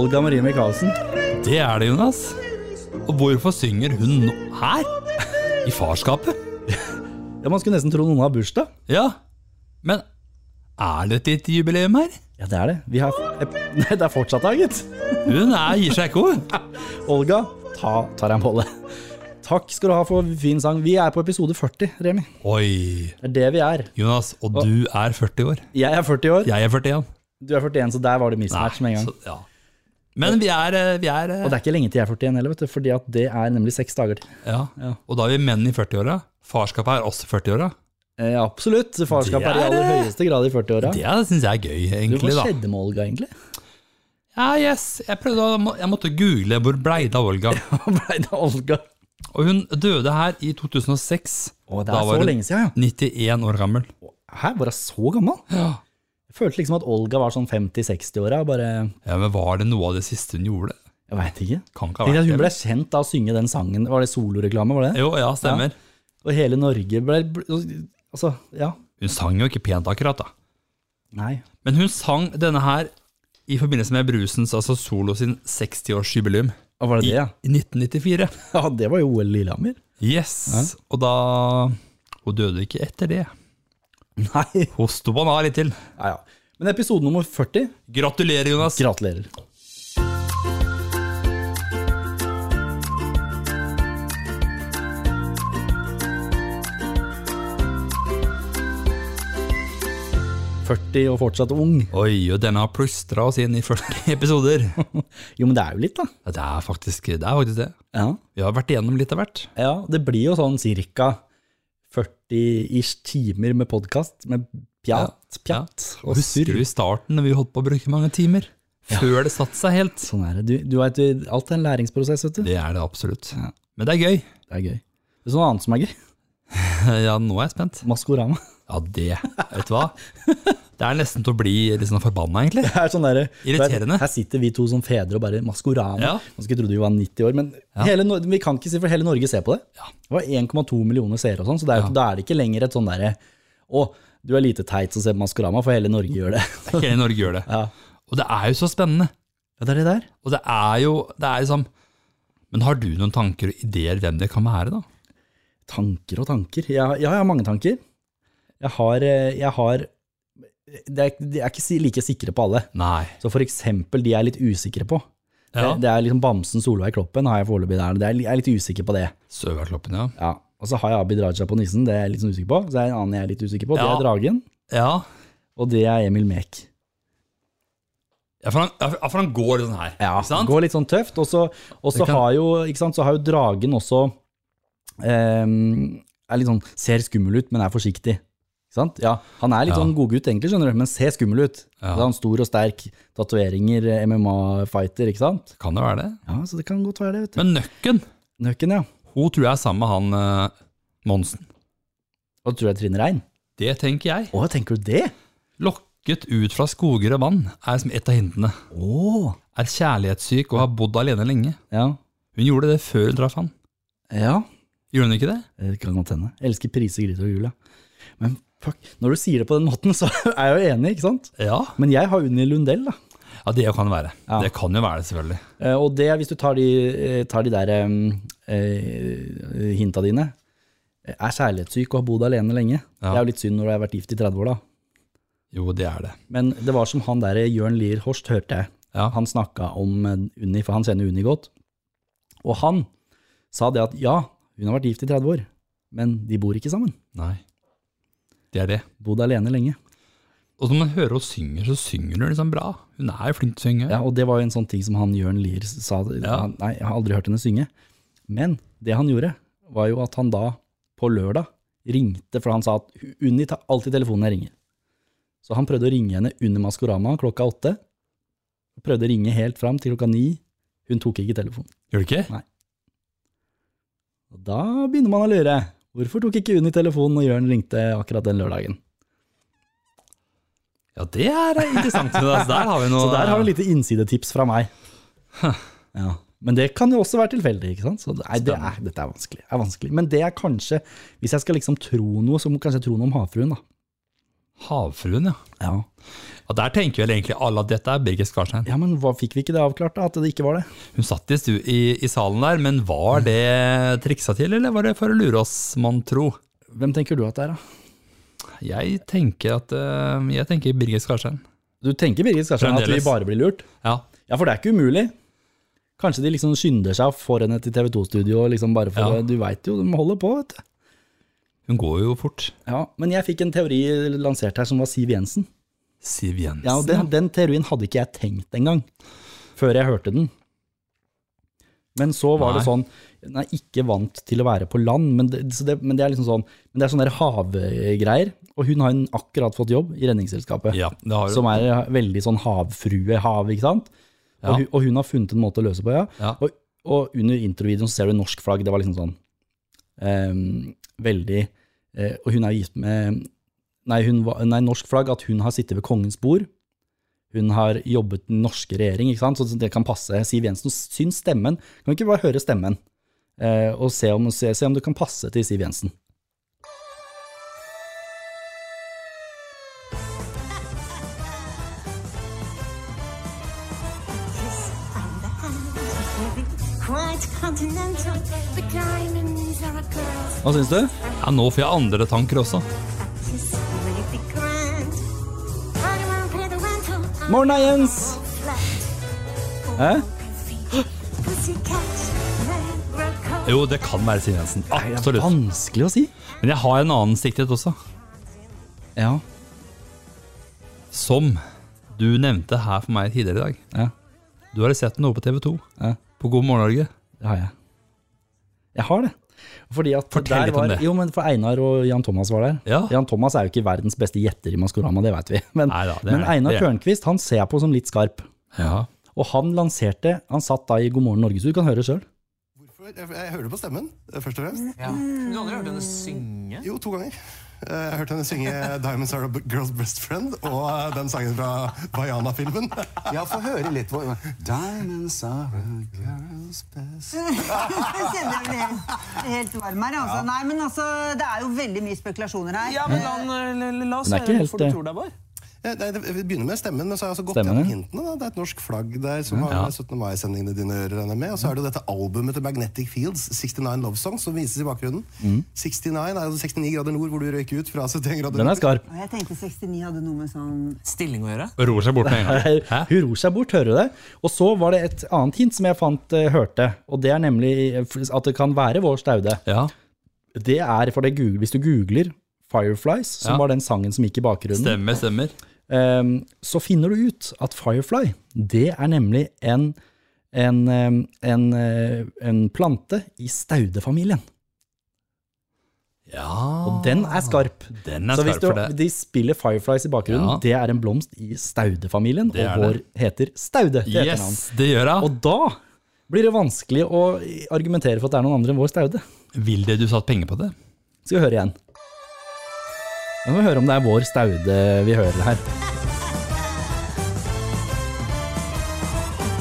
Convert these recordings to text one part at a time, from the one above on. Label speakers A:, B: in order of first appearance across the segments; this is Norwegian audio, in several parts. A: Olga Marie Michaelsen.
B: Det er det, Jonas. Og hvorfor synger hun nå her? I farskapet?
A: Ja, Man skulle nesten tro noen har bursdag.
B: Ja. Men er det et lite jubileum her?
A: Ja, det er det. Vi har Nei, det er fortsatt da, gitt.
B: Hun er, gir seg ikke, hun.
A: Olga, ta tar jeg en bolle. Takk skal du ha for fin sang. Vi er på episode 40, Remi.
B: Oi.
A: Det er det vi er.
B: Jonas, og du er 40 år.
A: Jeg er 40 år,
B: Jeg er 41.
A: du er 41, så der var det mismatch med en gang.
B: så- ja. Men vi er, eh, vi er eh,
A: Og det er ikke lenge til jeg er 41 heller, vet du, fordi at det er nemlig seks dager til.
B: ja. Og da er vi menn i 40-åra. Farskapet er også 40-åra.
A: Eh, absolutt. Farskap er i
B: Det er
A: aller
B: det.
A: høyeste grad i 40-åra.
B: Det syns jeg er gøy,
A: Du, Hva
B: egentlig. da.
A: skjedde med Olga, egentlig?
B: Ja, yes. Jeg, prøvde, å- jeg måtte google hvor blei det av Olga.
A: Hva ble det av Olga?
B: Og hun døde her i 2006.
A: Å, det
B: Da
A: er
B: var
A: så
B: hun
A: lenge siden,
B: 91 år gammel.
A: ja. Hæ, var hun så gammel?
B: Ja.
A: Jeg følte liksom at Olga var sånn 50-60-åra, bare
B: Men var det noe av det siste hun gjorde?
A: Jeg veit ikke.
B: Kan ikke ha
A: Tenk at
B: vært
A: hun
B: det.
A: ble kjent av å synge den sangen, var det soloreklame, var det?
B: Jo, ja, stemmer.
A: Og hele Norge ble Altså, ja.
B: Hun sang jo ikke pent akkurat, da.
A: Nei.
B: Men hun sang denne her i forbindelse med Brusens, altså Solo sin 60-årsjubileum
A: Og var det
B: i
A: det, ja?
B: 1994.
A: Ja, det var jo OL Lillehammer.
B: Yes. Og da Hun døde ikke etter det.
A: Nei.
B: Hun sto på litt til.
A: Ja, ja. Men episode nummer 40,
B: Gratulerer, Jonas.
A: gratulerer. Førti og fortsatt ung.
B: Oi, og denne har plystra oss inn i 40 episoder.
A: Jo, men det er jo litt, da.
B: Ja, det er faktisk det. Er faktisk det.
A: Ja,
B: Vi har vært igjennom litt av hvert.
A: ja Det blir jo sånn cirka 40-ish timer med podkast, med pjatt,
B: Ja.
A: pjatt
B: Og
A: og
B: Husker
A: surr.
B: du i starten når vi holdt på å bruke mange timer? Før det satte seg helt.
A: Sånn er det. Du, du vet, alt er en læringsprosess, vet du.
B: Det er det absolutt. Men det er gøy.
A: Det er gøy. Det er sånn annet som er gøy.
B: Ja, nå er jeg spent.
A: Maskorama.
B: Ja, det. Vet du hva? Det er nesten til å bli litt sånn forbanna, egentlig.
A: Det er sånn der,
B: Irriterende.
A: Her sitter vi to som fedre og bare Maskorama.
B: Ja.
A: Man skulle tro vi var 90 år, men hele, Nor- vi kan ikke si for hele Norge ser på det. Det var 1,2 millioner seere og sånn, så det er, jo ikke- da er det ikke lenger et sånn derre Å, du er lite teit som ser på Maskorama, for hele Norge gjør det.
B: Hele Norge gjør det.
A: Ja.
B: Og det er jo så spennende.
A: Ja, det er det der.
B: Og det er jo det er liksom Men har du noen tanker og ideer hvem det kan være, da?
A: Tanker og tanker. Jeg, har- ja, jeg har mange tanker. Jeg har, eh, jeg har det er, De er ikke si- like sikre på alle.
B: Nei.
A: Så for eksempel de jeg er litt usikre på.
B: Ja.
A: Det, det er liksom Bamsen, Solveig Kloppen har jeg foreløpig der. Det er, jeg er litt usikker på det.
B: Søverkloppen, ja.
A: Ja. Og så har jeg Abid Raja på nissen, det er jeg litt sånn usikker på. Så er det en annen jeg er litt usikker på, det
B: Ja.
A: er Dragen.
B: Ja,
A: Og det er Emil Mek.
B: ja for han, ja, for- ja, for han går sånn her,
A: Ja,
B: ikke sant?
A: Går litt sånn tøft. Og så og så
B: Det kan-
A: har jo ikke sant, så har jo Dragen også ehm, er litt sånn, Ser skummel ut, men er forsiktig. Ikke sant? Ja, han er litt
B: Ja.
A: sånn godgutt egentlig, skjønner du, men ser skummel ut.
B: Ja.
A: Så er han Stor og sterk, tatoveringer, eh, MMA-fighter, ikke sant?
B: Kan det være det?
A: Ja, Så det kan godt være det. vet du.
B: Men Nøkken,
A: Nøkken, ja.
B: hun tror jeg er sammen med han eh, Monsen.
A: Og tror jeg Trine Rein.
B: Det tenker jeg.
A: Å, tenker du det?
B: Lokket ut fra skoger og vann er som et av hintene.
A: Å,
B: Er kjærlighetssyk og har bodd alene lenge.
A: ja.
B: Hun gjorde det før hun traff han.
A: Ja,
B: Gjorde hun ikke det?
A: Eh, det kan godt hende. Jeg elsker priser, gryter og jul, ja. Men fuck, når du sier det på den måten, så er jeg jo enig, ikke sant?
B: Ja.
A: Men jeg har Unni Lundell, da.
B: Ja, det kan det være.
A: Ja.
B: Det kan jo være det, selvfølgelig.
A: Eh, Og det, hvis du tar de, eh, tar de der em, eh, hinta dine, eh, er kjærlighetssyk og har bodd alene lenge.
B: Ja.
A: Det er jo litt synd når du har vært gift i 30 år, da.
B: Jo, det er det.
A: Men det var som han der eh, Jørn Lier Horst hørte jeg.
B: Ja.
A: Han snakka om eh, Unni, for han kjenner Unni godt. Og han sa det at ja, hun har vært gift i 30 år, men de bor ikke sammen.
B: Nei. Det er det.
A: Bodd alene lenge.
B: Og når man hører hun synger, så synger hun liksom bra. Hun er jo flink til å synge.
A: Ja, og det var jo en sånn ting som han Jørn Lier sa.
B: Ja.
A: Han, nei, jeg har aldri hørt henne synge. Men det han gjorde, var jo at han da, på lørdag, ringte, for han sa at Unni tar alltid telefonen jeg ringer. Så han prøvde å ringe henne under Maskorama klokka åtte. Prøvde å ringe helt fram til klokka ni. Hun tok ikke telefonen.
B: Gjør du ikke?
A: Og da begynner man å lure. Hvorfor tok ikke Unni telefonen når Jørn ringte akkurat den lørdagen?
B: Ja, det er interessant. Altså, der har vi noe
A: Så der har du et lite innsidetips fra meg. Ja. Men det kan jo også være tilfeldig. ikke sant? Så det, nei, det er, dette er vanskelig, er vanskelig. Men det er kanskje, hvis jeg skal liksom tro noe, så må kanskje jeg tro noe om havfruen. da.
B: Havfruen, ja.
A: Ja.
B: Og Der tenker vel egentlig alle at dette er Birgit Skarstein.
A: ja, men hva fikk vi ikke det avklart, da? At det ikke var det?
B: Hun satt i, stu i, i salen der, men var det triksa til, eller var det for å lure oss, mon tro?
A: Hvem tenker du at det er, da?
B: Jeg tenker at eh, Jeg tenker Birgit Skarstein.
A: Du tenker Birgit Skarstein at vi
B: Fremdeles.
A: bare blir lurt?
B: Ja.
A: Ja, for det er ikke umulig. Kanskje de liksom skynder seg og får henne til TV 2-studio, liksom bare for
B: Ja.
A: Du veit jo, de holder på, vet du.
B: Hun går jo fort.
A: Ja, Men jeg fikk en teori lansert her som var Siv Jensen.
B: Siv Jensen.
A: Ja, og den, den teorien hadde ikke jeg tenkt engang, før jeg hørte den. Men så var det
B: Nei.
A: sånn Den er ikke vant til å være på land, men det, så det, men det er liksom sånn Men det er sånne der havgreier, og hun har en akkurat fått jobb i Redningsselskapet,
B: Ja, det har
A: som
B: hun.
A: er veldig sånn havfrue, hav, ikke sant? Og,
B: Ja.
A: hun, og hun har funnet en måte å løse på, ja.
B: Ja.
A: Og, og under introvideoen så ser du norsk flagg, det var liksom sånn ehm, Veldig eh, Og hun er gift med nei, hun var, nei, norsk flagg, at hun har sittet ved kongens bord. Hun har jobbet i den norske regjering, ikke sant? så det kan passe. Siv Jensen syns stemmen. Kan vi ikke bare høre stemmen, eh, og se om, se, se om det kan passe til Siv Jensen?
C: Yes, I'm the hand. Quite continental. The diamonds are a girl's.
A: Hva syns du?
B: ja, nå får jeg andre tanker også.
C: A kiss may be grand. I won't pay the rental. I'm
A: Morna, Jens!
C: flat.
A: Hæ?
C: Pussycat, Negro coat.
B: Jo, det kan være Siv Jensen.
A: Det er
B: Absolutt.
A: vanskelig å si.
B: Men jeg har en annen siktighet også.
A: Ja.
B: Som du nevnte her for meg tidligere i dag.
A: ja.
B: Du har sett noe på TV 2.
A: Ja.
B: På God morgen Norge.
A: Det har jeg. Jeg har det. Fordi at
B: Fortell
A: der
B: litt om
A: var,
B: det.
A: Jo, men for Einar og Jan Thomas var der.
B: Ja.
A: Jan Thomas er jo ikke verdens beste gjetter i Maskorama, det vet vi. Men,
B: Neida, det er
A: men
B: det.
A: Einar
B: Det er det.
A: Tørnquist han ser jeg på som litt skarp.
B: Ja.
A: Og han lanserte Han satt da i God morgen Norge, så du kan høre sjøl.
D: Jeg, jeg hører det på stemmen, eh, først og fremst.
E: Ja. Men du har aldri hørt henne synge?
D: Jo, to ganger. Eh, Jeg hørte henne synge 'Diamonds Are A B- Girl's Best Friend' og eh, den sangen fra Vaiana-filmen.
F: Ja, få høre litt. hvor- Diamonds are a girl's best
G: Jeg kjenner jeg blir helt, helt varm her. Altså. Nei, men altså, det er jo veldig mye spekulasjoner her.
E: Ja, men la, la, la, la oss
A: Den er ikke
E: høre
A: helt,
E: hvorfor du
A: eh,
E: tror det var.
D: Eh, nei, det- Vi begynner med stemmen, men så har jeg altså gått
A: Stemmen,
D: gjennom
A: ja.
D: hintene. Da. Det er et norsk flagg der som har
B: Ja.
D: med 17. mai-sendingene dine å gjøre. regner jeg med. Og så er det jo dette albumet til Magnetic Fields, 69 Love Songs, som vises i bakgrunnen. 69 er jo 69 grader nord, hvor du røyker ut fra 71 grader
A: Den er
D: nord.
A: skarp.
G: Og jeg tenkte 69 hadde noe med sånn
E: Stilling å gjøre.
B: Og roer seg bort med en gang. Hæ?
A: Hun ror seg bort, hører du det? Og så var det et annet hint som jeg fant, eh, hørte, og det er nemlig eh, at det kan være vår staude.
B: Ja,
A: Det er for det Google, hvis du googler Fireflies, som
B: Ja.
A: var den sangen som gikk i bakgrunnen,
B: stemmer, stemmer.
A: Ehm, så finner du ut at Firefly, det er nemlig en, en, ehm, en, eh, en plante i staudefamilien.
B: Ja.
A: Og den er skarp.
B: Den er
A: så hvis
B: skarp
A: du,
B: for det.
A: de spiller Fireflies i bakgrunnen,
B: Ja.
A: det er en blomst i staudefamilien,
B: Det er
A: og vår heter Staude til etternavn.
B: Yes, det gjør jeg.
A: Og da blir det vanskelig å argumentere for at det er noen andre enn vår staude.
B: Og vil det du satt penger på det?
A: Skal vi høre igjen. Nå må vi høre om det er vår staude vi hører her.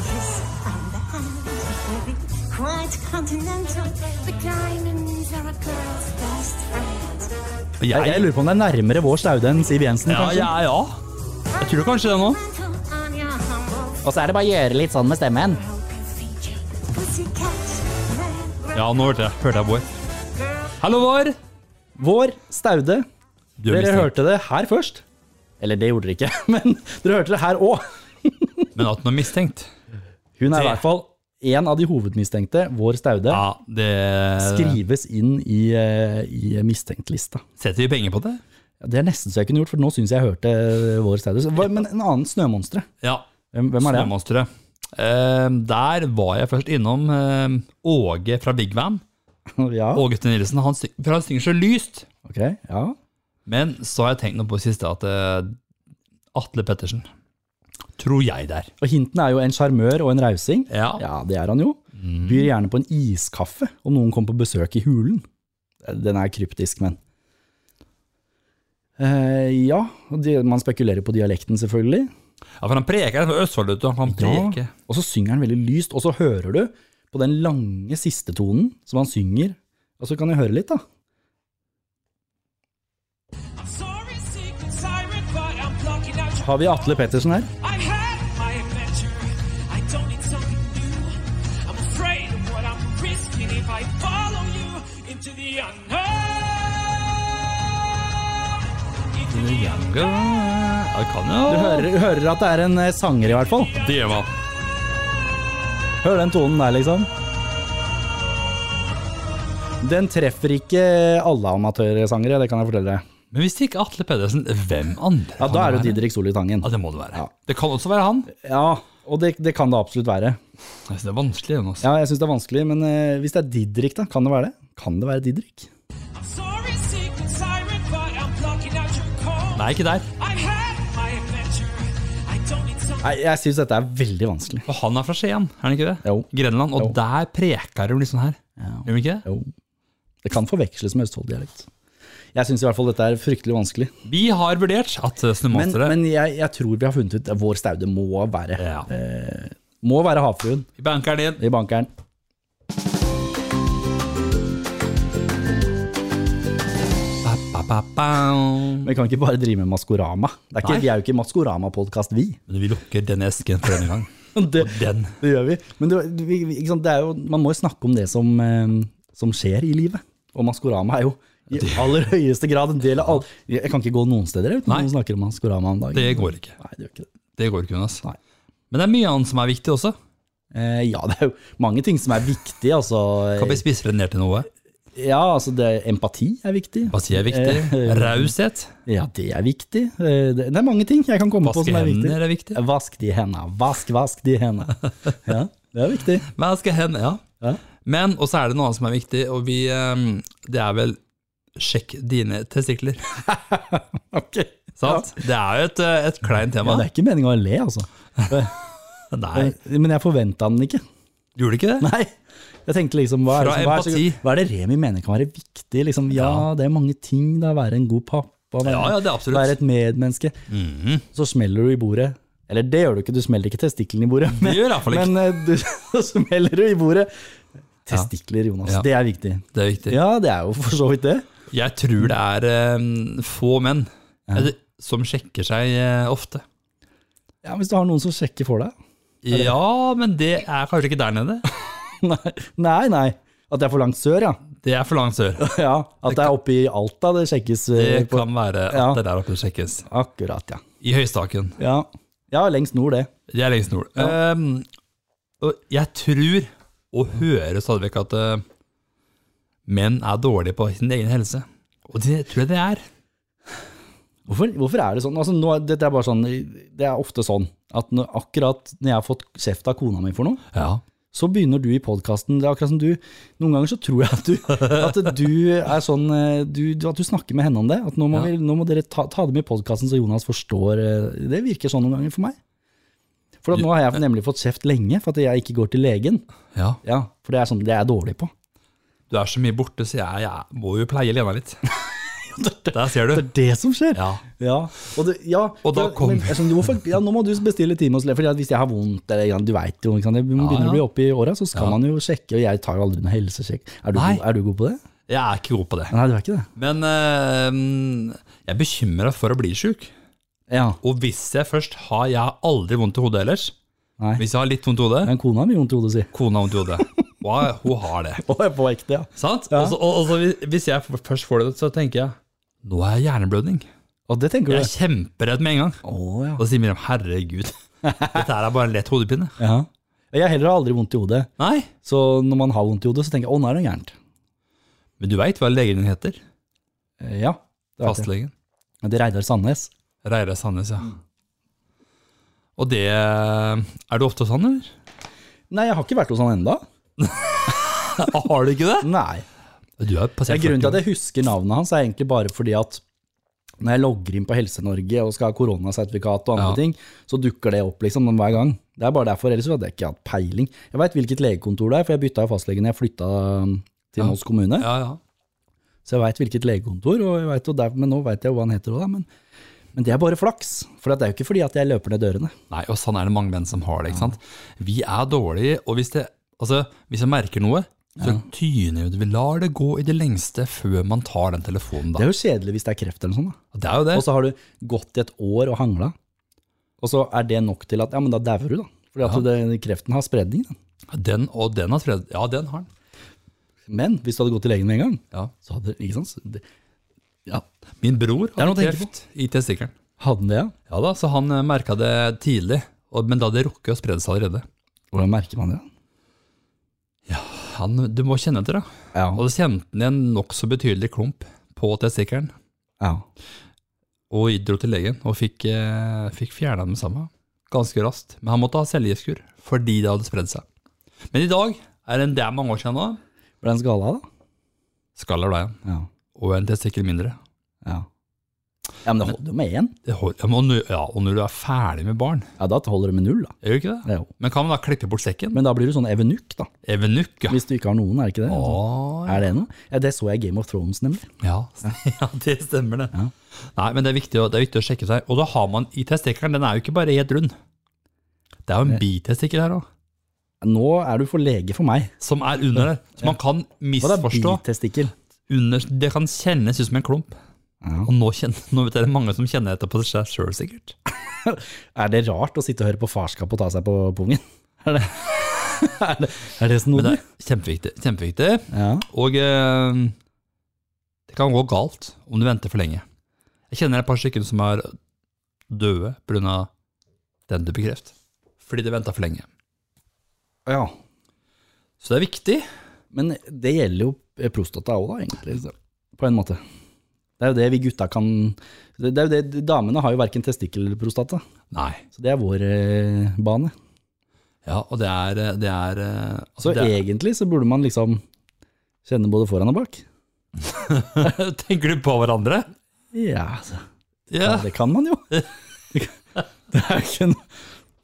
C: Kiss on the hand. Quite continental. The diamonds are a girl's best friend.
B: Og jeg,
A: Jeg, jeg lurer på om det er nærmere vår staude enn Siv Jensen,
B: ja,
A: kanskje.
B: ja, ja. Jeg tror kanskje det nå.
C: Rental on your humble
A: Og så er det bare å gjøre litt sånn med stemmen.
C: broken feature. Pussycat, Negro
B: Ja, nå hørte jeg, hørte jeg Bård. Hallo, Bård!
A: Vår Staude,
B: Du
A: dere
B: mistenkt.
A: hørte det her først. Eller det gjorde dere ikke, men dere hørte det her òg.
B: Men at den er mistenkt?
A: Hun er i hvert
B: Det-
A: fall en av de hovedmistenkte. Vår Staude
B: Ja, det
A: skrives inn i, eh, i mistenkt-lista.
B: Setter vi penger på det?
A: Ja, Det er nesten så jeg kunne gjort, for nå syns jeg jeg hørte eh, Vår Staude. Så, hva- Men en annen snømonstre.
B: Ja.
A: Hvem, hvem er det?
B: Snømonsteret. Eh, der var jeg først innom eh, Åge fra Big Van.
A: Ja,
B: Åge T. Nilsen. Han, syng, for han synger så lyst.
A: ok. Ja.
B: Men så har jeg tenkt noe på det siste, at eh, Atle Pettersen. Tror jeg der.
A: Og hintene er jo en sjarmør og en rausing.
B: Ja.
A: Ja, det er han jo. Byr gjerne på en iskaffe om noen kommer på besøk i hulen. Den er kryptisk, men Eh, Ja, og de, man spekulerer på dialekten, selvfølgelig.
B: ja, for han preker han er fra Østfold, vet du. Han preker.
A: Og så synger han veldig lyst, og så hører du på den lange siste tonen som han synger. Og så kan jeg høre litt, da.
H: Sorry, secret siren.
A: har vi Atle Pettersen her.
H: I've had my adventure. I don't need something new. I'm afraid of what I'm risking if I follow you into the unknown. Into the unknown.
B: Jeg kan jo
A: Du hører, hører at det er en eh, sanger, i hvert fall.
B: Det var
A: Hør den tonen der, liksom. Den treffer ikke alle amatørsangere, det kan jeg fortelle deg.
B: Men hvis det ikke er Atle Pedersen, hvem andre?
A: Ja,
B: kan
A: Da er det
B: være?
A: Didrik Solli Tangen.
B: Ja, det må det være.
A: Ja.
B: Det kan også være han.
A: Ja, og det, det kan det absolutt være.
B: Jeg synes det er vanskelig, Jonas.
A: Ja, jeg syns det er vanskelig, men eh, hvis det er Didrik, da, kan det være det? Kan det være Didrik?
H: I'm sorry, secret siren, but I'm blocking out your call.
B: Nei, ikke der.
H: I've had my adventure. I don't need something.
A: Nei, jeg syns dette er veldig vanskelig.
B: For han er fra Skien, er han ikke det?
A: Jo.
B: Grenland. Og
A: Jo.
B: der preker de liksom her. Gjør de ikke det?
A: Jo. Det kan forveksles med Østfold-dialekt. Jeg syns i hvert fall dette er fryktelig vanskelig.
B: Vi har vurdert at eh,
A: Men,
B: Snømonsteret
A: men jeg, jeg tror vi har funnet ut at vår staude må være
B: Ja.
A: eh, Må være havfruen
B: Vi banker det inn.
A: i bankeren.
B: Ba, ba, ba, ba.
A: Men vi kan ikke bare drive med Maskorama. Det er ikke,
B: Nei.
A: vi er jo ikke Maskorama-podkast, vi.
B: Men vi lukker denne esken for denne gang.
A: Det,
B: Den.
A: det gjør vi. Men det, vi, vi- ikke sant? det er jo, man må jo snakke om det som, eh, som skjer i livet. Og Maskorama er jo i aller høyeste grad en del av all... Jeg kan ikke gå noen steder uten
B: Nei.
A: at noen snakker om Maskorama om dagen.
B: Det går ikke.
A: Nei, det gjør ikke det.
B: Det går ikke, Jonas.
A: Nei.
B: Men det er mye annet som er viktig også.
A: Eh, ja, det er jo mange ting som er viktig. Altså,
B: Kan vi spisse det ned til noe?
A: ja, altså det, empati er viktig.
B: Hva sier jeg er viktig?
A: Eh,
B: Raushet?
A: Ja, det er viktig. Eh, Det det er mange ting jeg kan komme på
B: Vaske
A: som er viktig.
B: hender er viktig.
A: Vask de henda. Vask, vask de henda. Ja, det er viktig.
B: Vaske hender, ja.
A: Ja.
B: Men, og så er det noe annet som er viktig, og vi eh, Det er vel Sjekk dine testikler.
A: Ok.
B: Sant? Det er jo et, eh, et kleint tema.
A: Ja, det er ikke meninga å le, altså. Eh,
B: Nei,
A: Men jeg forventa den ikke.
B: gjorde det ikke det?
A: Nei. Jeg tenkte liksom, hva er, det
B: Fra
A: som, hva, er det,
B: empati.
A: som- hva er det Remi mener kan være viktig? Liksom, ja, det er mange ting. Da, være en god pappa, være,
B: Ja, ja, det er absolutt. Mhm.
A: være et medmenneske. Så smeller du i bordet. Eller det gjør du ikke, du smeller ikke testiklene i bordet. Men,
B: gjør jeg i hvert fall ikke.
A: men eh, du så smeller du i bordet. Testikler, Jonas.
B: Ja.
A: Det er viktig.
B: Det er viktig.
A: Ja, det er jo for så vidt det.
B: Jeg tror det er eh, få menn eller, som sjekker seg eh, ofte.
A: Ja, Hvis du har noen som sjekker for deg.
B: Ja, men det er kanskje ikke der nede.
A: Nei, nei. nei. At det er for langt sør, ja.
B: Det er for langt sør.
A: ja at det er oppe i Alta det sjekkes. eh,
B: Det
A: på-
B: kan være at
A: Ja.
B: det er der oppe det sjekkes.
A: Akkurat, ja.
B: I høystaken.
A: Ja, ja lengst nord, det.
B: Jeg er lengst nord. Ehm, og jeg tror og hører stadig vekk at eh, menn er dårlige på sin egen helse. Og det tror jeg det er.
A: Hvorfor, hvorfor er det sånn? Altså, nå, er- dette er bare sånn? Det er ofte sånn at når, akkurat når jeg har fått kjeft av kona mi for noe,
B: Ja.
A: så begynner du i podkasten. Det er akkurat som du Noen ganger så tror jeg at du, at du er sånn eh, du, du- At du snakker med henne om det. At nå må,
B: Ja.
A: vi, nå må dere ta, ta det med i podkasten så Jonas forstår eh, Det virker sånn noen ganger for meg. For at nå har jeg nemlig fått kjeft lenge for at jeg ikke går til legen.
B: ja.
A: Ja, For det er sånn det er jeg dårlig på.
B: Du er så mye borte, så jeg, jeg må jo pleie Lena litt. Der ser
A: Det
B: du.
A: er det som skjer.
B: Ja.
A: Ja, og, det, ja,
B: Og da
A: for-
B: kom-
A: men, jeg skjønner, hvorfor, ja, Nå må du bestille time hos lege, for hvis jeg har vondt eller ja, Du veit jo, ikke sant? man begynner å
B: ja.
A: bli oppe i åra, så skal man jo sjekke. Og jeg tar jo aldri noe helsesjekk. Er du,
B: Nei.
A: god, er du god på det?
B: Jeg er ikke god på det.
A: Nei, du er ikke det.
B: Men eh, jeg er bekymra for å bli sjuk.
A: Ja,
B: Og hvis jeg først har Jeg har aldri vondt i hodet ellers.
A: Nei.
B: Hvis jeg har litt vondt i hodet,
A: Men kona har mye vondt i hodet, si.
B: kona har vondt i hodet. Wow, hun har det.
A: Å, jeg er på ekte, ja.
B: Sant?
A: Ja.
B: Og så- og, og så hvis- hvis jeg først får det, så tenker jeg Nå er jeg hjerneblødning.
A: Og det tenker du?
B: Jeg er kjemperedd med en gang.
A: Å, ja.
B: Og så sier Miriam herregud, dette her er bare en lett hodepine.
A: ja. Jeg heller har aldri vondt i hodet.
B: Nei,
A: Så når man har vondt i hodet, så tenker jeg å, nå er det noe gærent.
B: men du veit hva legen din heter?
A: Eh, Ja. Det Mm. er artig.
B: Fastlegen.
A: Men det er Reidar Sandnes.
B: Reidar Sandnes, ja. Og det eh, Er du ofte hos han, eller?
A: Nei, jeg har ikke vært hos han enda
B: Har du ikke det?
A: Nei.
B: Du har
A: Det
B: passert
A: er grunnen til
B: 40
A: at
B: år.
A: jeg husker navnet hans, er egentlig bare fordi at når jeg logger inn på Helse-Norge og skal ha koronasertifikat og andre
B: Ja.
A: ting, så dukker det opp liksom hver gang. Det er bare derfor, ellers hadde jeg ikke hatt peiling. Jeg veit hvilket legekontor det er, for jeg bytta jo fastlege når jeg flytta um, til Moss kommune.
B: Ja, ja.
A: Så jeg veit hvilket legekontor, og jeg vet jo der, men nå veit jeg jo hva han heter òg, da. Men, men det er bare flaks, for det er jo ikke fordi at jeg løper ned dørene.
B: Nei, og sånn er det mange menn som har det, ikke sant? Vi er dårlige, og hvis, det, altså, hvis jeg merker noe, så tyner vi ut. Vi lar det gå i det lengste før man tar den telefonen da.
A: Det er jo kjedelig hvis det er kreft eller noe sånt. da.
B: Det er jo det.
A: Og så har du gått i et år og hangla. Og så er det nok til at ja, men da dauer du, da. Fordi at det, kreften har spredning. Da.
B: Den og den har fred... Ja, den har den.
A: Men hvis du hadde gått til legen med en gang,
B: Ja.
A: så hadde ikke sant? så Det, ja,
B: Min bror
A: er noe
B: hadde
A: å tenke
B: kreft i testikkelen.
A: Hadde den det, ja?
B: Ja da, så han merka det tidlig, og- men da hadde det rukket å spre seg allerede.
A: Hvordan merker man det?
B: Han, du må kjenne etter, da.
A: Ja.
B: Og det kjente han igjen nokså betydelig klump på testikkelen,
A: ja.
B: og dro til legen og fikk, eh, fikk fjerna den med samme. Ganske raskt. Men han måtte ha cellegiftkur fordi det hadde spredd seg. Men i dag er det en det er mange år siden nå.
A: Ble den skala, da?
B: Skaller deg igjen,
A: Ja.
B: og en testikkel mindre.
A: Ja, ja men det holder jo med én.
B: Det hold, ja, men og nå- ja, og når du er ferdig med barn,
A: Ja, da holder det med null, da.
B: gjør du ikke det?
A: Det er jo.
B: Men kan man da klippe bort sekken?
A: Men da blir du sånn evenukk, da.
B: Evenukk, ja.
A: Hvis du ikke har noen, er det ikke det? Liksom.
B: Å,
A: Er det noe? Ja, det så jeg i Game of Thrones, nemlig.
B: Ja, ja det stemmer det. Nei, men det er, viktig å, det er viktig å sjekke seg. Og da har man i testikkelen, den er jo ikke bare helt rund. Det er jo en bitestikkel her òg,
A: Nå er du for lege for meg.
B: som er under der. Så man kan
A: Hva er
B: misforstå.
A: bitestikkel?
B: Under, det kan kjennes ut som en klump. Og nå, kjenner, nå vet jeg det er mange som kjenner dette på seg sjøl, sikkert.
A: Er det rart å sitte og høre på farskap og ta seg på pungen? Er det, er det, er det
B: Men det
A: snodig?
B: er kjempeviktig. kjempeviktig.
A: Ja.
B: Og eh, det kan gå galt om du venter for lenge. Jeg kjenner et par stykker som er døde pga. den type kreft. Fordi de venta for lenge.
A: ja.
B: Så det er viktig.
A: Men det gjelder jo eh, prostata òg, da, egentlig. så- På en måte. Det er jo det vi gutta kan det det er jo det, Damene har jo verken testikkel eller prostata,
B: Nei.
A: så det er vår eh, bane.
B: Ja, og det er, eh, det er eh,
A: Så
B: altså, det er,
A: egentlig så burde man liksom kjenne både foran og bak.
B: Tenker du på hverandre?
A: Ja, altså.
B: Ja,
A: Det kan man jo. Det er ikke noe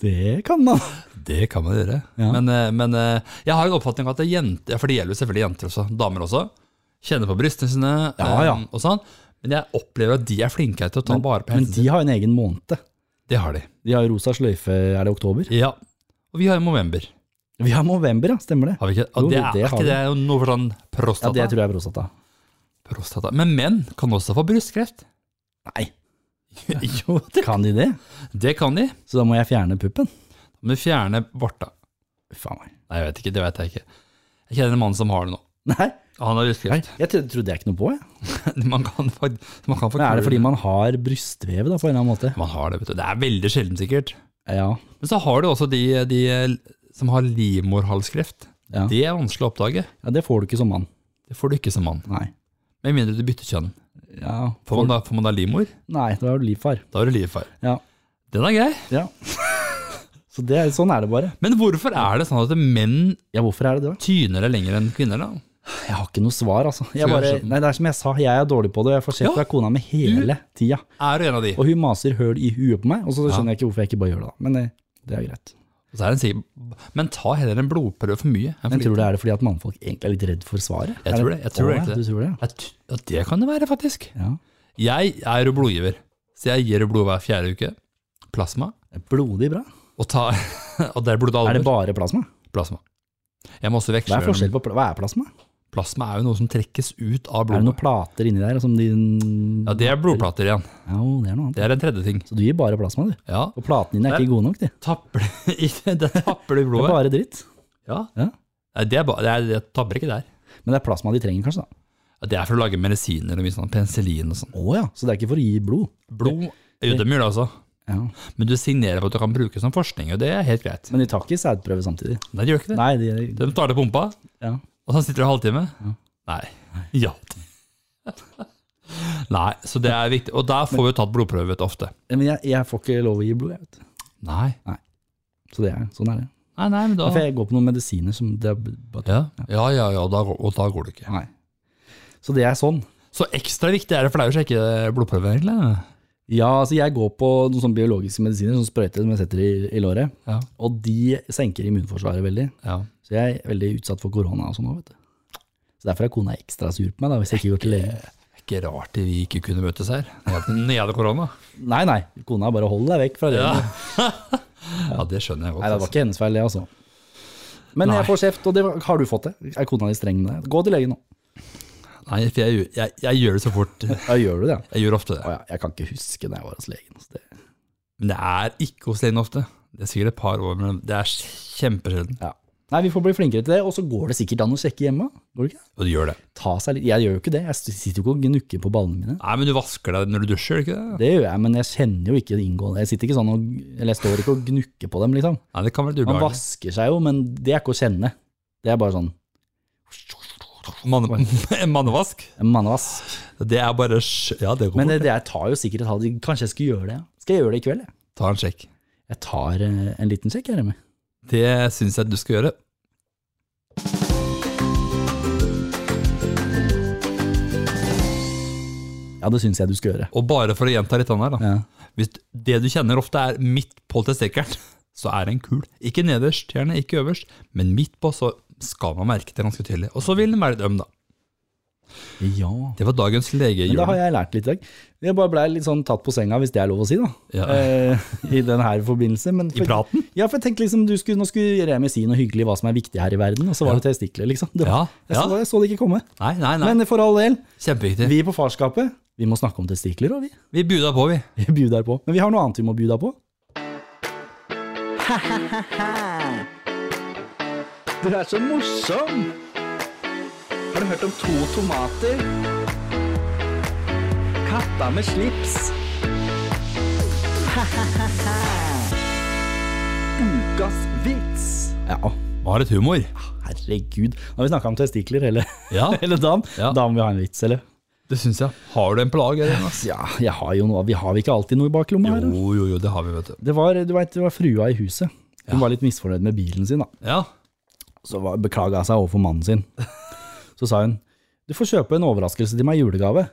A: Det kan man.
B: det kan man gjøre.
A: Ja.
B: Men, eh, men eh, jeg har en oppfatning av at det er jenter, for det gjelder jo selvfølgelig jenter også, damer også, kjenner på brystene sine
A: Ja, ja.
B: eh, og sånn. Men jeg opplever at de er flinke til å ta
A: Men,
B: vare på
A: men
B: helsen sin.
A: de har en egen måned.
B: Det har de.
A: De har rosa sløyfe, er det oktober?
B: Ja. Og vi har jo november.
A: Vi har november, ja. Stemmer det.
B: Har vi ikke? Og
A: Jo,
B: det er,
A: det
B: er
A: har
B: ikke
A: vi.
B: det jo noe for sånn
A: Ja,
B: prostata?
A: Det tror jeg er prostata.
B: prostata. Men menn kan også få brystkreft.
A: Nei,
B: jo, det,
A: kan de det?
B: det kan de.
A: Så da må jeg fjerne puppen?
B: Men fjerne vorta.
A: Faen meg.
B: Nei, jeg vet ikke. Det vet jeg ikke. Jeg kjenner en mann som har det nå.
A: Nei,
B: Han har
A: nei,
B: brystkreft.
A: jeg trodde, trodde jeg ikke noe på. Jeg.
B: Man kan, fakt- man kan få
A: Men er det
B: kul-
A: fordi man har brystvev da, på en eller annen måte?
B: Man har det, vet du. Det er veldig sjelden, sikkert.
A: Ja.
B: Men så har du også de, de som har livmorhalskreft.
A: Ja.
B: Det er vanskelig å oppdage.
A: ja, Det får du ikke som mann.
B: Det får du ikke som mann.
A: Nei.
B: Med mindre du bytter kjønn.
A: Ja,
B: Får man da, får man da livmor,
A: nei da er du livfar.
B: da er du livfar.
A: Ja.
B: Den er grei.
A: ja. Så det, er- sånn er det bare.
B: Men hvorfor er det sånn at menn
A: Ja, hvorfor er det det? da?
B: tyner det lenger enn kvinner, da?
A: Jeg har ikke noe svar, altså. Jeg
B: Skal jeg
A: bare,
B: skjønne?
A: nei, det er som jeg sa, jeg er dårlig på det, og jeg får se
B: Ja.
A: fra kona mi hele tida.
B: Er du en av de?
A: Og hun maser høl i huet på meg, og så skjønner jeg ikke hvorfor jeg ikke bare gjør det. da. Men eh, det er greit.
B: Og så er den sikkert, men ta heller en blodprøve for mye. enn for
A: Men tror du det
B: lite.
A: er det fordi at mannfolk egentlig er litt redd for svaret?
B: Jeg
A: Er
B: tror det. Jeg tror
A: Å,
B: egentlig
A: ja,
B: det.
A: Du tror det, ja.
B: Jeg t- Ja, det kan det være, faktisk.
A: ja.
B: Jeg er jo blodgiver, så jeg gir jo blod hver fjerde uke. Plasma.
A: Det er Blodig bra.
B: Og, ta, og det er blodalver.
A: Er det bare plasma?
B: Plasma. Jeg må også
A: Hva
B: veksle
A: er forskjell på pla- Hva er plasma?
B: Plasma er jo noe som trekkes ut av
A: Er det noen
B: blodet.
A: plater inni der som de
B: Ja, det er blodplater igjen.
A: Ja, jo, det er noe annet.
B: Det er en tredje ting.
A: Så du gir bare plasma, du.
B: Ja,
A: Og platene dine er
B: Nei.
A: ikke gode nok, de.
B: tapper du i det, det tapper du i
A: Det er
B: blodet.
A: bare dritt.
B: Ja.
A: Ja.
B: Nei, Det, er ba, det, er, det tapper ikke der.
A: Men det er plasma de trenger, kanskje. da.
B: Ja, Det er for å lage medisiner og mye sånn, penicillin og sånn.
A: Å ja, så det er ikke for å gi blod.
B: Blod er jo det mye, da, altså.
A: Ja.
B: Men du signerer på at du kan bruke som forskning, og det er helt greit.
A: Men de tar ikke sædprøve samtidig.
B: Nei, de gjør ikke det.
A: Nei, de,
B: De tar det pumpa,
A: ja.
B: og så sitter du en halvtime. Nei. Ja. Nei, så det er viktig. Og der får vi jo tatt blodprøve vet du, ofte.
A: Men jeg, jeg får ikke lov å gi blod, jeg vet.
B: Nei.
A: Så det er, sånn er det.
B: Nei, nei, men da...
A: Ja, for jeg går på noen medisiner som det er bare
B: Ja, ja, ja, ja da, går- og da går det ikke.
A: Nei. Så det er sånn.
B: Så ekstra viktig er det for deg å sjekke blodprøver, egentlig.
A: Ja, altså jeg går på noen sånne biologiske medisiner, sånne sprøyter som jeg setter i, i låret,
B: Ja.
A: og de senker immunforsvaret veldig.
B: Ja.
A: Så jeg er veldig utsatt for korona og sånn òg, vet du. Så derfor er kona ekstra sur på meg, da, hvis jeg ikke går til legen.
B: Ikke rart det vi ikke kunne møtes her, når jeg hadde- når jeg hadde korona.
A: Nei, nei, kona bare hold deg vekk fra legen.
B: Ja. ja, det skjønner jeg godt.
A: Nei, det var ikke hennes feil, det, altså. Men
B: Nei.
A: jeg får kjeft, og det var- har du fått det. Er kona di streng med deg? Gå til legen nå.
B: altså. Nei, for jeg, gjør- jeg, jeg gjør det så fort.
A: Ja, gjør du det?
B: Jeg gjør ofte
A: Å
B: det.
A: ja, jeg kan ikke huske da jeg var hos legen. Så altså. det,
B: Men det er ikke hos legen ofte. Det er sikkert et par år, men det er kjempesjelden.
A: Ja. Nei, vi får bli flinkere til det, og så går det sikkert an å sjekke hjemme. Går det ikke?
B: Og det gjør det.
A: Ta seg litt. Jeg gjør jo ikke det, jeg sitter jo ikke og gnukker på ballene mine.
B: Nei, men du vasker deg når du dusjer, gjør du ikke det?
A: Det gjør jeg, men jeg kjenner jo ikke inngående. Jeg sitter ikke sånn og, eller jeg står ikke og gnukker på dem, liksom.
B: Nei, det kan være litt
A: Man
B: ubehagelig.
A: vasker seg jo, men det er ikke å kjenne. Det er bare sånn
B: Manne- En mannevask?
A: en mannevask.
B: Det er bare sj- Ja, det går
A: Men
B: bort.
A: det, det jeg tar jo sikkert et halvt Kanskje jeg skulle gjøre det? ja. Skal jeg gjøre det i kveld? Jeg,
B: Ta en sjekk.
A: jeg tar eh, en liten sjekk, jeg, Remi.
B: Det syns jeg du skal gjøre.
A: Ja, det syns jeg du skal gjøre.
B: Og bare for å gjenta litt annet her, da.
A: Ja.
B: Hvis det du kjenner ofte er midt på testikkelen, så er det en kul. Ikke nederst, gjerne ikke øverst, men midt på, så skal man merke det ganske tydelig. Og så vil den være litt øm, da.
A: ja.
B: Det var dagens
A: Men da har
B: legehjørne.
A: jeg lært litt i dag. Jeg bare blei litt sånn tatt på senga, hvis det er lov å si, da.
B: Ja.
A: Eh, I den her forbindelse. Men
B: I praten?
A: Ja, for jeg tenkte liksom, du skulle, nå skulle Remi si noe hyggelig hva som er viktig her i verden, og så var det testikler, liksom. Det
B: Ja,
A: var, jeg, så,
B: ja.
A: jeg så det ikke komme.
B: Nei, nei, nei.
A: Men for all del,
B: Kjempeviktig. Vi,
A: vi på farskapet, vi må snakke om testikler, og vi,
B: vi buda på, vi.
A: vi bjuder på. Men vi har noe annet vi må bjuda på. Du er så morsom! Har du hørt om to tomater? Katta med slips. Ukas vits. Ja,
B: Man har litt humor.
A: herregud. Nå har vi snakka om testikler hele,
B: Ja,
A: hele dagen.
B: Ja.
A: Da må vi ha en vits, eller?
B: det syns jeg. Har du en plage? Eller? ass?
A: Ja, jeg har jo noe. Vi har vi ikke alltid noe i baklomma her? da?
B: Jo, jo, jo, det har vi, vet du.
A: Det var, du vet, det var frua i huset. Hun var litt misfornøyd med bilen sin, da.
B: Ja.
A: Så var- beklaga hun seg overfor mannen sin. Så sa hun du får kjøpe en overraskelse til meg i julegave,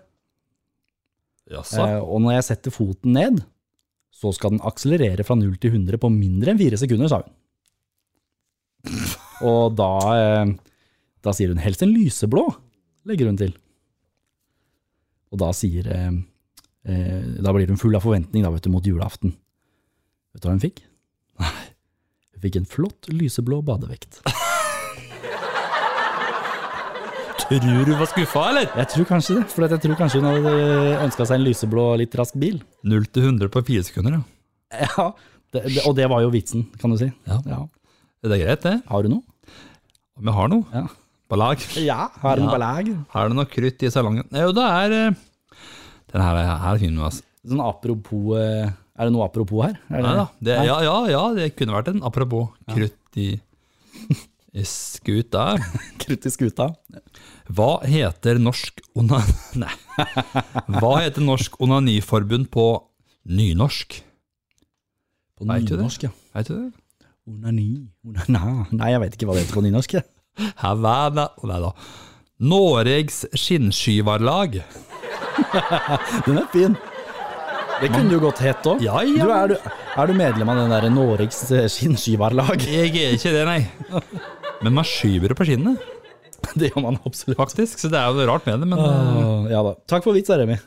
B: Jaså.
A: eh, og når jeg setter foten ned, så skal den akselerere fra 0 til 100 på mindre enn 4 sekunder, sa hun. Og da, eh, da sier hun helst en lyseblå, legger hun til. Og da sier eh, eh, Da blir hun full av forventning da, vet du, mot julaften. Vet du hva hun fikk? Nei. Hun fikk en flott lyseblå badevekt.
B: Tror du var skuffa, eller?
A: Jeg tror kanskje det, for at jeg tror kanskje hun hadde ønska seg en lyseblå og litt rask bil.
B: Null til 100 på fire sekunder, ja.
A: Ja, det, det, Og det var jo vitsen, kan du si.
B: Ja. Det er greit, det.
A: Har du noe?
B: Om jeg har noe?
A: Ja.
B: På lag?
A: Ja, har du
B: Ja.
A: noe belegg?
B: Har du noe krutt i salongen? Jo, det er eh, Den her er, her er fin, altså.
A: Sånn apropos eh, Er det noe apropos her? Er det,
B: Nei da. Det, ja, ja, ja, det kunne vært en. Apropos krutt i, i skuta.
A: Krutt i skuta.
B: Hva heter norsk ona... Nei. Hva heter norsk onaniforbund på nynorsk?
A: På
B: Vet du det?
A: nynorsk, ja.
B: Vet du det?
A: Onani. Onana. Nei, jeg vet ikke hva det heter på nynorsk. jeg.
B: Havana Nei da. Noregs skinnskyvarlag.
A: Den er fin. Det kunne du godt hett òg.
B: Ja, ja.
A: er, du- er du medlem av den der Noregs eh, skinnskivarlag?
B: Jeg er ikke det, nei. Men man skyver det på skinnet,
A: Det gjør man absolutt.
B: faktisk. Så det er jo noe rart med det, men
A: Åh, ja da. Takk for vitsa, Remi.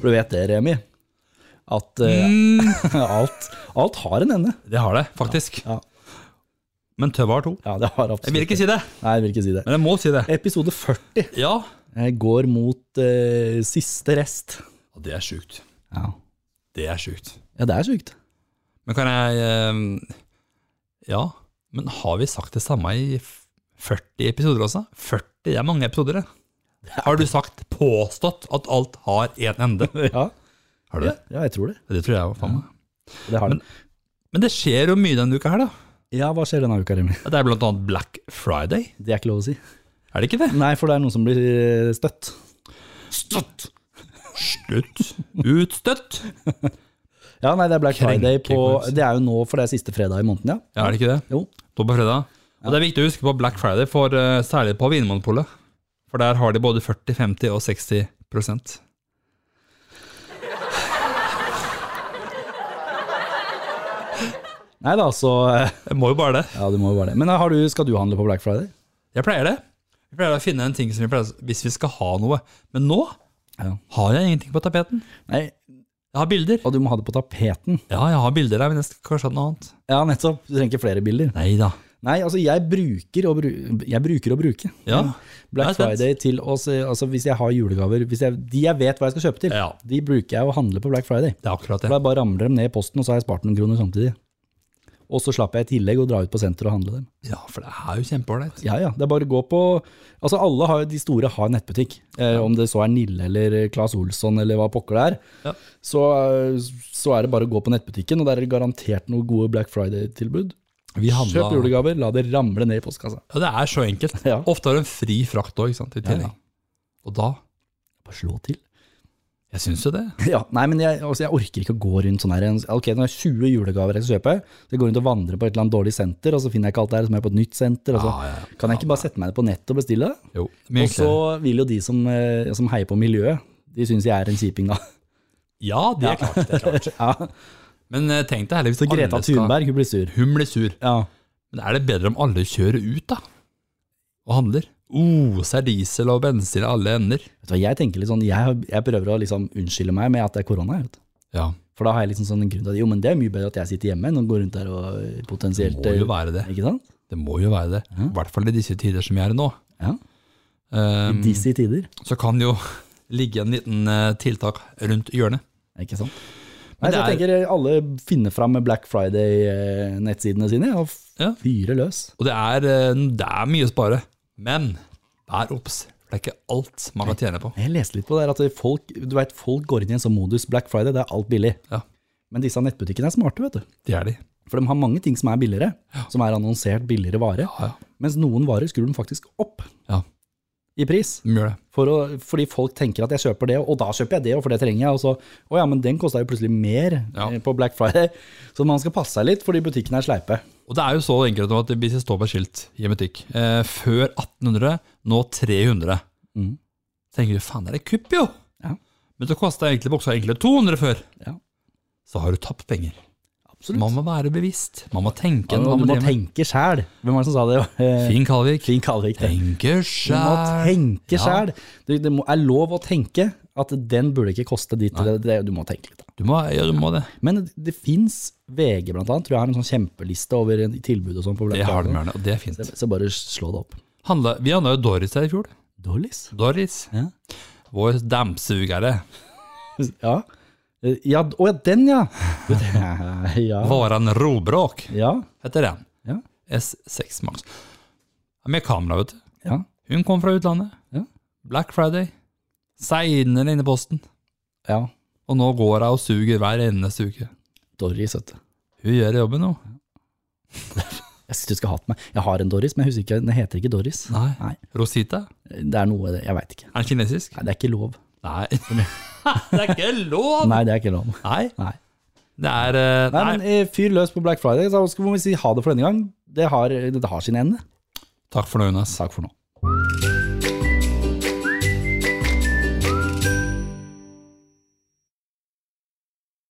A: For du vet det, Remi, at eh, alt, alt har en ende.
B: Mm. det har det, faktisk.
A: Ja.
B: Men tøva har to.
A: Ja, det har absolutt
B: Jeg vil ikke si det,
A: Nei, jeg vil ikke si det.
B: men jeg må si det.
A: Episode 40
B: Ja.
A: eh, går mot eh, siste rest.
B: Og det er sjukt.
A: Ja.
B: Det er sjukt.
A: ja, det er sjukt.
B: Men kan jeg eh, Ja, men har vi sagt det samme i f- 40 episoder også? 40 det er mange episoder, det. Har du sagt, påstått, at alt har en ende?
A: Ja,
B: Har du
A: ja,
B: det?
A: jeg tror det.
B: Det tror jeg var faen meg.
A: det har
B: Men-
A: det.
B: Men det skjer jo mye denne uka her, da.
A: Ja, hva skjer denne uka, Remi?
B: Det er blant annet Black Friday.
A: Det er ikke lov å si.
B: Er det ikke det?
A: Nei, for det er noen som blir eh, støtt.
B: Støtt! Slutt. Utstøtt.
A: Ja, nei, det er Black Friday på
B: Krenkekurs.
A: Det er jo nå, for det er siste fredag i måneden, ja.
B: Ja, er det ikke det?
A: Jo.
B: Nå på fredag. Og det er viktig å huske på Black Friday, for, eh, særlig på Vinmonopolet. For der har de både 40, 50 og 60 prosent.
A: Nei da, så eh,
B: Jeg må jo bare det.
A: Ja, du må jo bare det. Men eh, har du, skal du handle på Black Friday?
B: Jeg pleier det. Jeg pleier å finne en ting som vi pleier, hvis vi skal ha noe. Men nå
A: Ja.
B: har jeg ingenting på tapeten.
A: Nei,
B: Jeg har bilder.
A: og du må ha det på tapeten.
B: Ja, jeg har bilder der, men jeg skal kanskje ha noe annet.
A: Ja, nettopp. Du trenger ikke flere bilder.
B: Nei da.
A: Nei, altså jeg bruker å, bru jeg bruker å bruke.
B: Ja. Jeg
A: Black
B: er spent.
A: Friday til å se Altså hvis jeg har julegaver hvis jeg, De jeg vet hva jeg skal kjøpe til,
B: Ja.
A: de bruker jeg å handle på Black Friday.
B: Det er akkurat
A: For da
B: det.
A: bare ramler dem ned i posten, og så har jeg spart noen kroner samtidig. Og så slapp jeg i tillegg å dra ut på senter og handle dem.
B: Ja, for det er jo kjempeålreit.
A: Ja, ja. Det er bare å gå på Altså alle har, de store har nettbutikk. Eh, om det så er Nille eller Claes Olsson eller hva pokker det er,
B: Ja.
A: så, så er det bare å gå på nettbutikken, og der er det garantert noen gode Black Friday-tilbud.
B: Vi handla
A: Kjøp julegaver, la det ramle ned i postkassa.
B: Ja, det er så enkelt.
A: Ja.
B: Ofte har du en fri frakt òg, ikke sant, i tillegg.
A: ja.
B: Og da
A: Bare slå til.
B: Jeg syns jo det.
A: Ja, nei, men jeg, altså, jeg orker ikke å gå rundt sånn her. Ok, nå er det 20 julegaver jeg skal kjøpe, så jeg går rundt og vandrer på et eller annet dårlig senter, og så finner jeg ikke alt der, så må jeg på et nytt senter. Og så.
B: Ja, Ah, ja, ja.
A: Kan jeg ikke bare sette meg ned på nett og bestille det?
B: Jo, mye
A: Altså. Og så
B: enklere.
A: vil jo de som, eh, som heier på miljøet, de syns jeg er en kjiping da.
B: Ja, det er klart. Det er klart.
A: Ja.
B: Men eh, tenk deg heller hvis
A: Så Greta
B: alle skal
A: Thunberg, hun blir sur.
B: Hun blir sur.
A: Ja.
B: Men er det bedre om alle kjører ut, da? Og handler? Oh, så er diesel og bensin i alle ender.
A: Vet du hva, jeg tenker litt sånn, jeg, jeg prøver å liksom unnskylde meg med at det er korona. Vet du.
B: Ja,
A: For da har jeg liksom sånn en grunn til at jo, men det er mye bedre at jeg sitter hjemme enn å gå rundt der og potensielt eh,
B: Det må jo være det.
A: Ikke sant?
B: det må jo være det. I hvert fall i disse tider som vi er i nå.
A: Ja.
B: Um,
A: Disse tider.
B: så kan det jo ligge en liten eh, tiltak rundt hjørnet.
A: Ikke sant? Nei, så jeg
B: det
A: tenker alle finner fram med Black Friday-nettsidene sine og f-
B: Ja.
A: fyrer løs.
B: Og det er, eh, det er mye å spare, men vær obs. for Det er ikke alt man kan tjene på.
A: Jeg leste litt på det her at folk, du vet, folk går inn i en sånn modus Black Friday, det er alt billig.
B: Ja.
A: Men disse nettbutikkene er smarte, vet du.
B: Det er de.
A: For de har mange ting som er billigere, som er annonsert billigere vare.
B: Ja, ja.
A: Mens noen varer skrur de faktisk opp
B: Ja.
A: i pris.
B: De gjør det.
A: For å, fordi folk tenker at jeg kjøper det, og da kjøper jeg det, og for det trenger jeg. Og så, å ja, men den kosta jo plutselig mer
B: Ja.
A: eh, på Black Friday. Så man skal passe seg litt, fordi butikkene er sleipe.
B: Og det er jo så enkelt nå at hvis det står på et skilt i en butikk eh, Før 1800, nå 300.
A: Mhm.
B: tenker du faen, det er kupp, jo!
A: Ja.
B: Men så kosta egentlig buksa egentlig 200 før.
A: Ja.
B: Så har du tapt penger.
A: Absolutt.
B: Man må være bevisst. Man må tenke.
A: du
B: man
A: må
B: drive med.
A: tenke sjæl. Hvem var det som sa det? Eh,
B: Finn Kalvik.
A: Finn Kalvik. det.
B: Tenke
A: Du må
B: sjæl.
A: tenke
B: Ja.
A: sjæl. Det, det må- er lov å tenke at den burde ikke koste ditt eller det. Du må tenke litt. da.
B: Du må, ja, du må det.
A: Men det, det fins VG, blant annet. Tror jeg har en sånn kjempeliste over en- tilbud og sånn. på Black
B: Det har de
A: Friday.
B: gjerne, og det er fint.
A: Så- Så bare slå det opp.
B: Handla, vi handla jo Doris her i fjor.
A: Dollies?
B: Doris.
A: Ja.
B: Vår dampsugere.
A: Ja. Eh, ja. Å ja, den, ja! ja.
B: Våran robråk,
A: ja.
B: heter den.
A: Ja.
B: S6 Max. Med kamera, vet du.
A: Ja.
B: Hun kom fra utlandet.
A: Ja.
B: Black Friday. Seinere inn i posten.
A: ja.
B: Og nå går hun og suger hver eneste uke.
A: Doris, vet du.
B: Hun gjør jobben nå.
A: Jeg synes du skal hate meg. Jeg har en Doris, men jeg husker ikke, den heter ikke Doris.
B: Nei.
A: Nei.
B: Rosita?
A: Det er noe Jeg veit ikke.
B: Er den kinesisk?
A: Nei, det er ikke lov.
B: Nei. det er ikke lov!
A: Nei, det er ikke lov.
B: Nei.
A: Nei.
B: Det er eh,
A: Nei,
B: Nei,
A: men eh, Fyr løs på Black Friday, så skal vi si ha det for denne gang. Det har, det har sin ende.
B: Takk for nå, Jonas.
A: Takk for nå.